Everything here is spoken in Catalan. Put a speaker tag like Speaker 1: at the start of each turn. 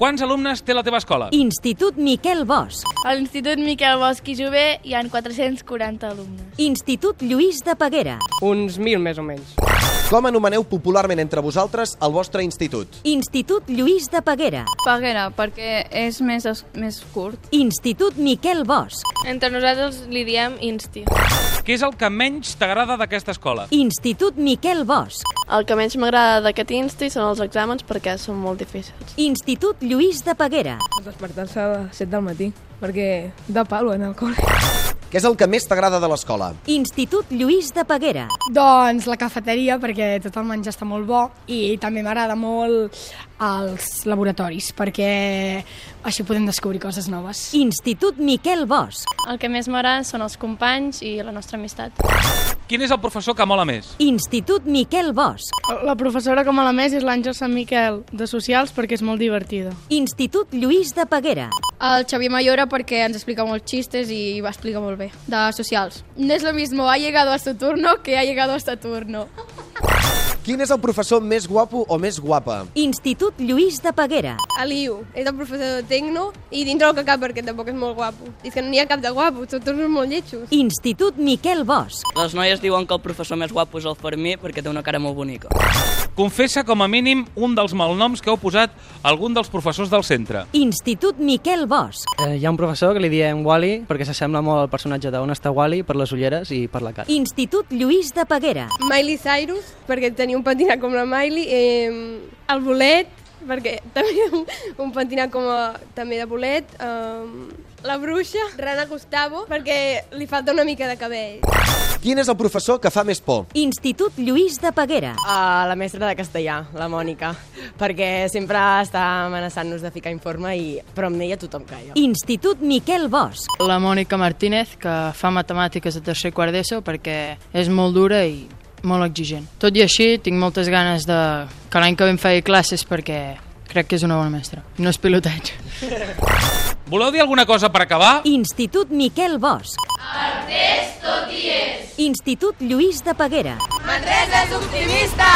Speaker 1: Quants alumnes té la teva escola?
Speaker 2: Institut Miquel Bosch.
Speaker 3: A l'Institut Miquel Bosch i Jové hi han 440 alumnes.
Speaker 2: Institut Lluís de Peguera.
Speaker 4: Uns mil, més o menys.
Speaker 5: Com anomeneu popularment entre vosaltres el vostre institut?
Speaker 2: Institut Lluís de Peguera.
Speaker 6: Peguera, perquè és més, es- més curt.
Speaker 2: Institut Miquel Bosch.
Speaker 3: Entre nosaltres li diem Insti.
Speaker 1: Què és el que menys t'agrada d'aquesta escola?
Speaker 2: Institut Miquel Bosch.
Speaker 3: El que menys m'agrada d'aquest Insti són els exàmens perquè són molt difícils.
Speaker 2: Institut Lluís de Peguera.
Speaker 7: Despertar-se a les 7 del matí, perquè de palo en el col·le.
Speaker 5: Què és el que més t'agrada de l'escola?
Speaker 2: Institut Lluís de Peguera.
Speaker 7: Doncs la cafeteria, perquè tot el menjar està molt bo i també m'agrada molt els laboratoris, perquè així podem descobrir coses noves.
Speaker 2: Institut Miquel Bosch.
Speaker 3: El que més m'agrada són els companys i la nostra amistat.
Speaker 1: Quin és el professor que mola més?
Speaker 2: Institut Miquel Bosch.
Speaker 3: La professora com a la més és l'Àngel Sant Miquel, de Socials, perquè és molt divertida.
Speaker 2: Institut Lluís de Peguera.
Speaker 6: El Xavier Mayora perquè ens explica molts xistes i va explicar molt bé, de socials. No és lo mismo ha llegado a su turno que ha llegado hasta turno.
Speaker 5: Quin és el professor més guapo o més guapa?
Speaker 2: Institut Lluís de Peguera.
Speaker 8: A l'IU, és el professor de Tecno i dintre el que cap perquè tampoc és molt guapo. És que no n'hi ha cap de guapo, tots són molt lletjos.
Speaker 2: Institut Miquel Bosch.
Speaker 9: Les noies diuen que el professor més guapo és el Fermí perquè té una cara molt bonica.
Speaker 1: Confessa com a mínim un dels malnoms que heu posat a algun dels professors del centre.
Speaker 2: Institut Miquel Bosch.
Speaker 10: Eh, hi ha un professor que li diem Wally perquè s'assembla molt al personatge d'on està Wally per les ulleres i per la cara.
Speaker 2: Institut Lluís de Peguera.
Speaker 8: Miley Cyrus, perquè tenia un pentinat com la Miley, eh, el bolet, perquè també un, un pentinat com a, també de bolet, eh, la bruixa, Rana Gustavo, perquè li falta una mica de cabell.
Speaker 5: Quin és el professor que fa més por?
Speaker 2: Institut Lluís de Peguera.
Speaker 4: A la mestra de castellà, la Mònica, perquè sempre està amenaçant-nos de ficar informe i... però amb ella tothom calla.
Speaker 2: Institut Miquel Bosch.
Speaker 4: La Mònica Martínez, que fa matemàtiques a tercer quart d'ESO perquè és molt dura i molt exigent. Tot i així, tinc moltes ganes de que l'any que ve em faci classes perquè crec que és una bona mestra. No és pilotatge.
Speaker 1: Voleu dir alguna cosa per acabar?
Speaker 2: Institut Miquel Bosch. Artés tot i és. Institut Lluís de Peguera.
Speaker 8: Manresa és optimista!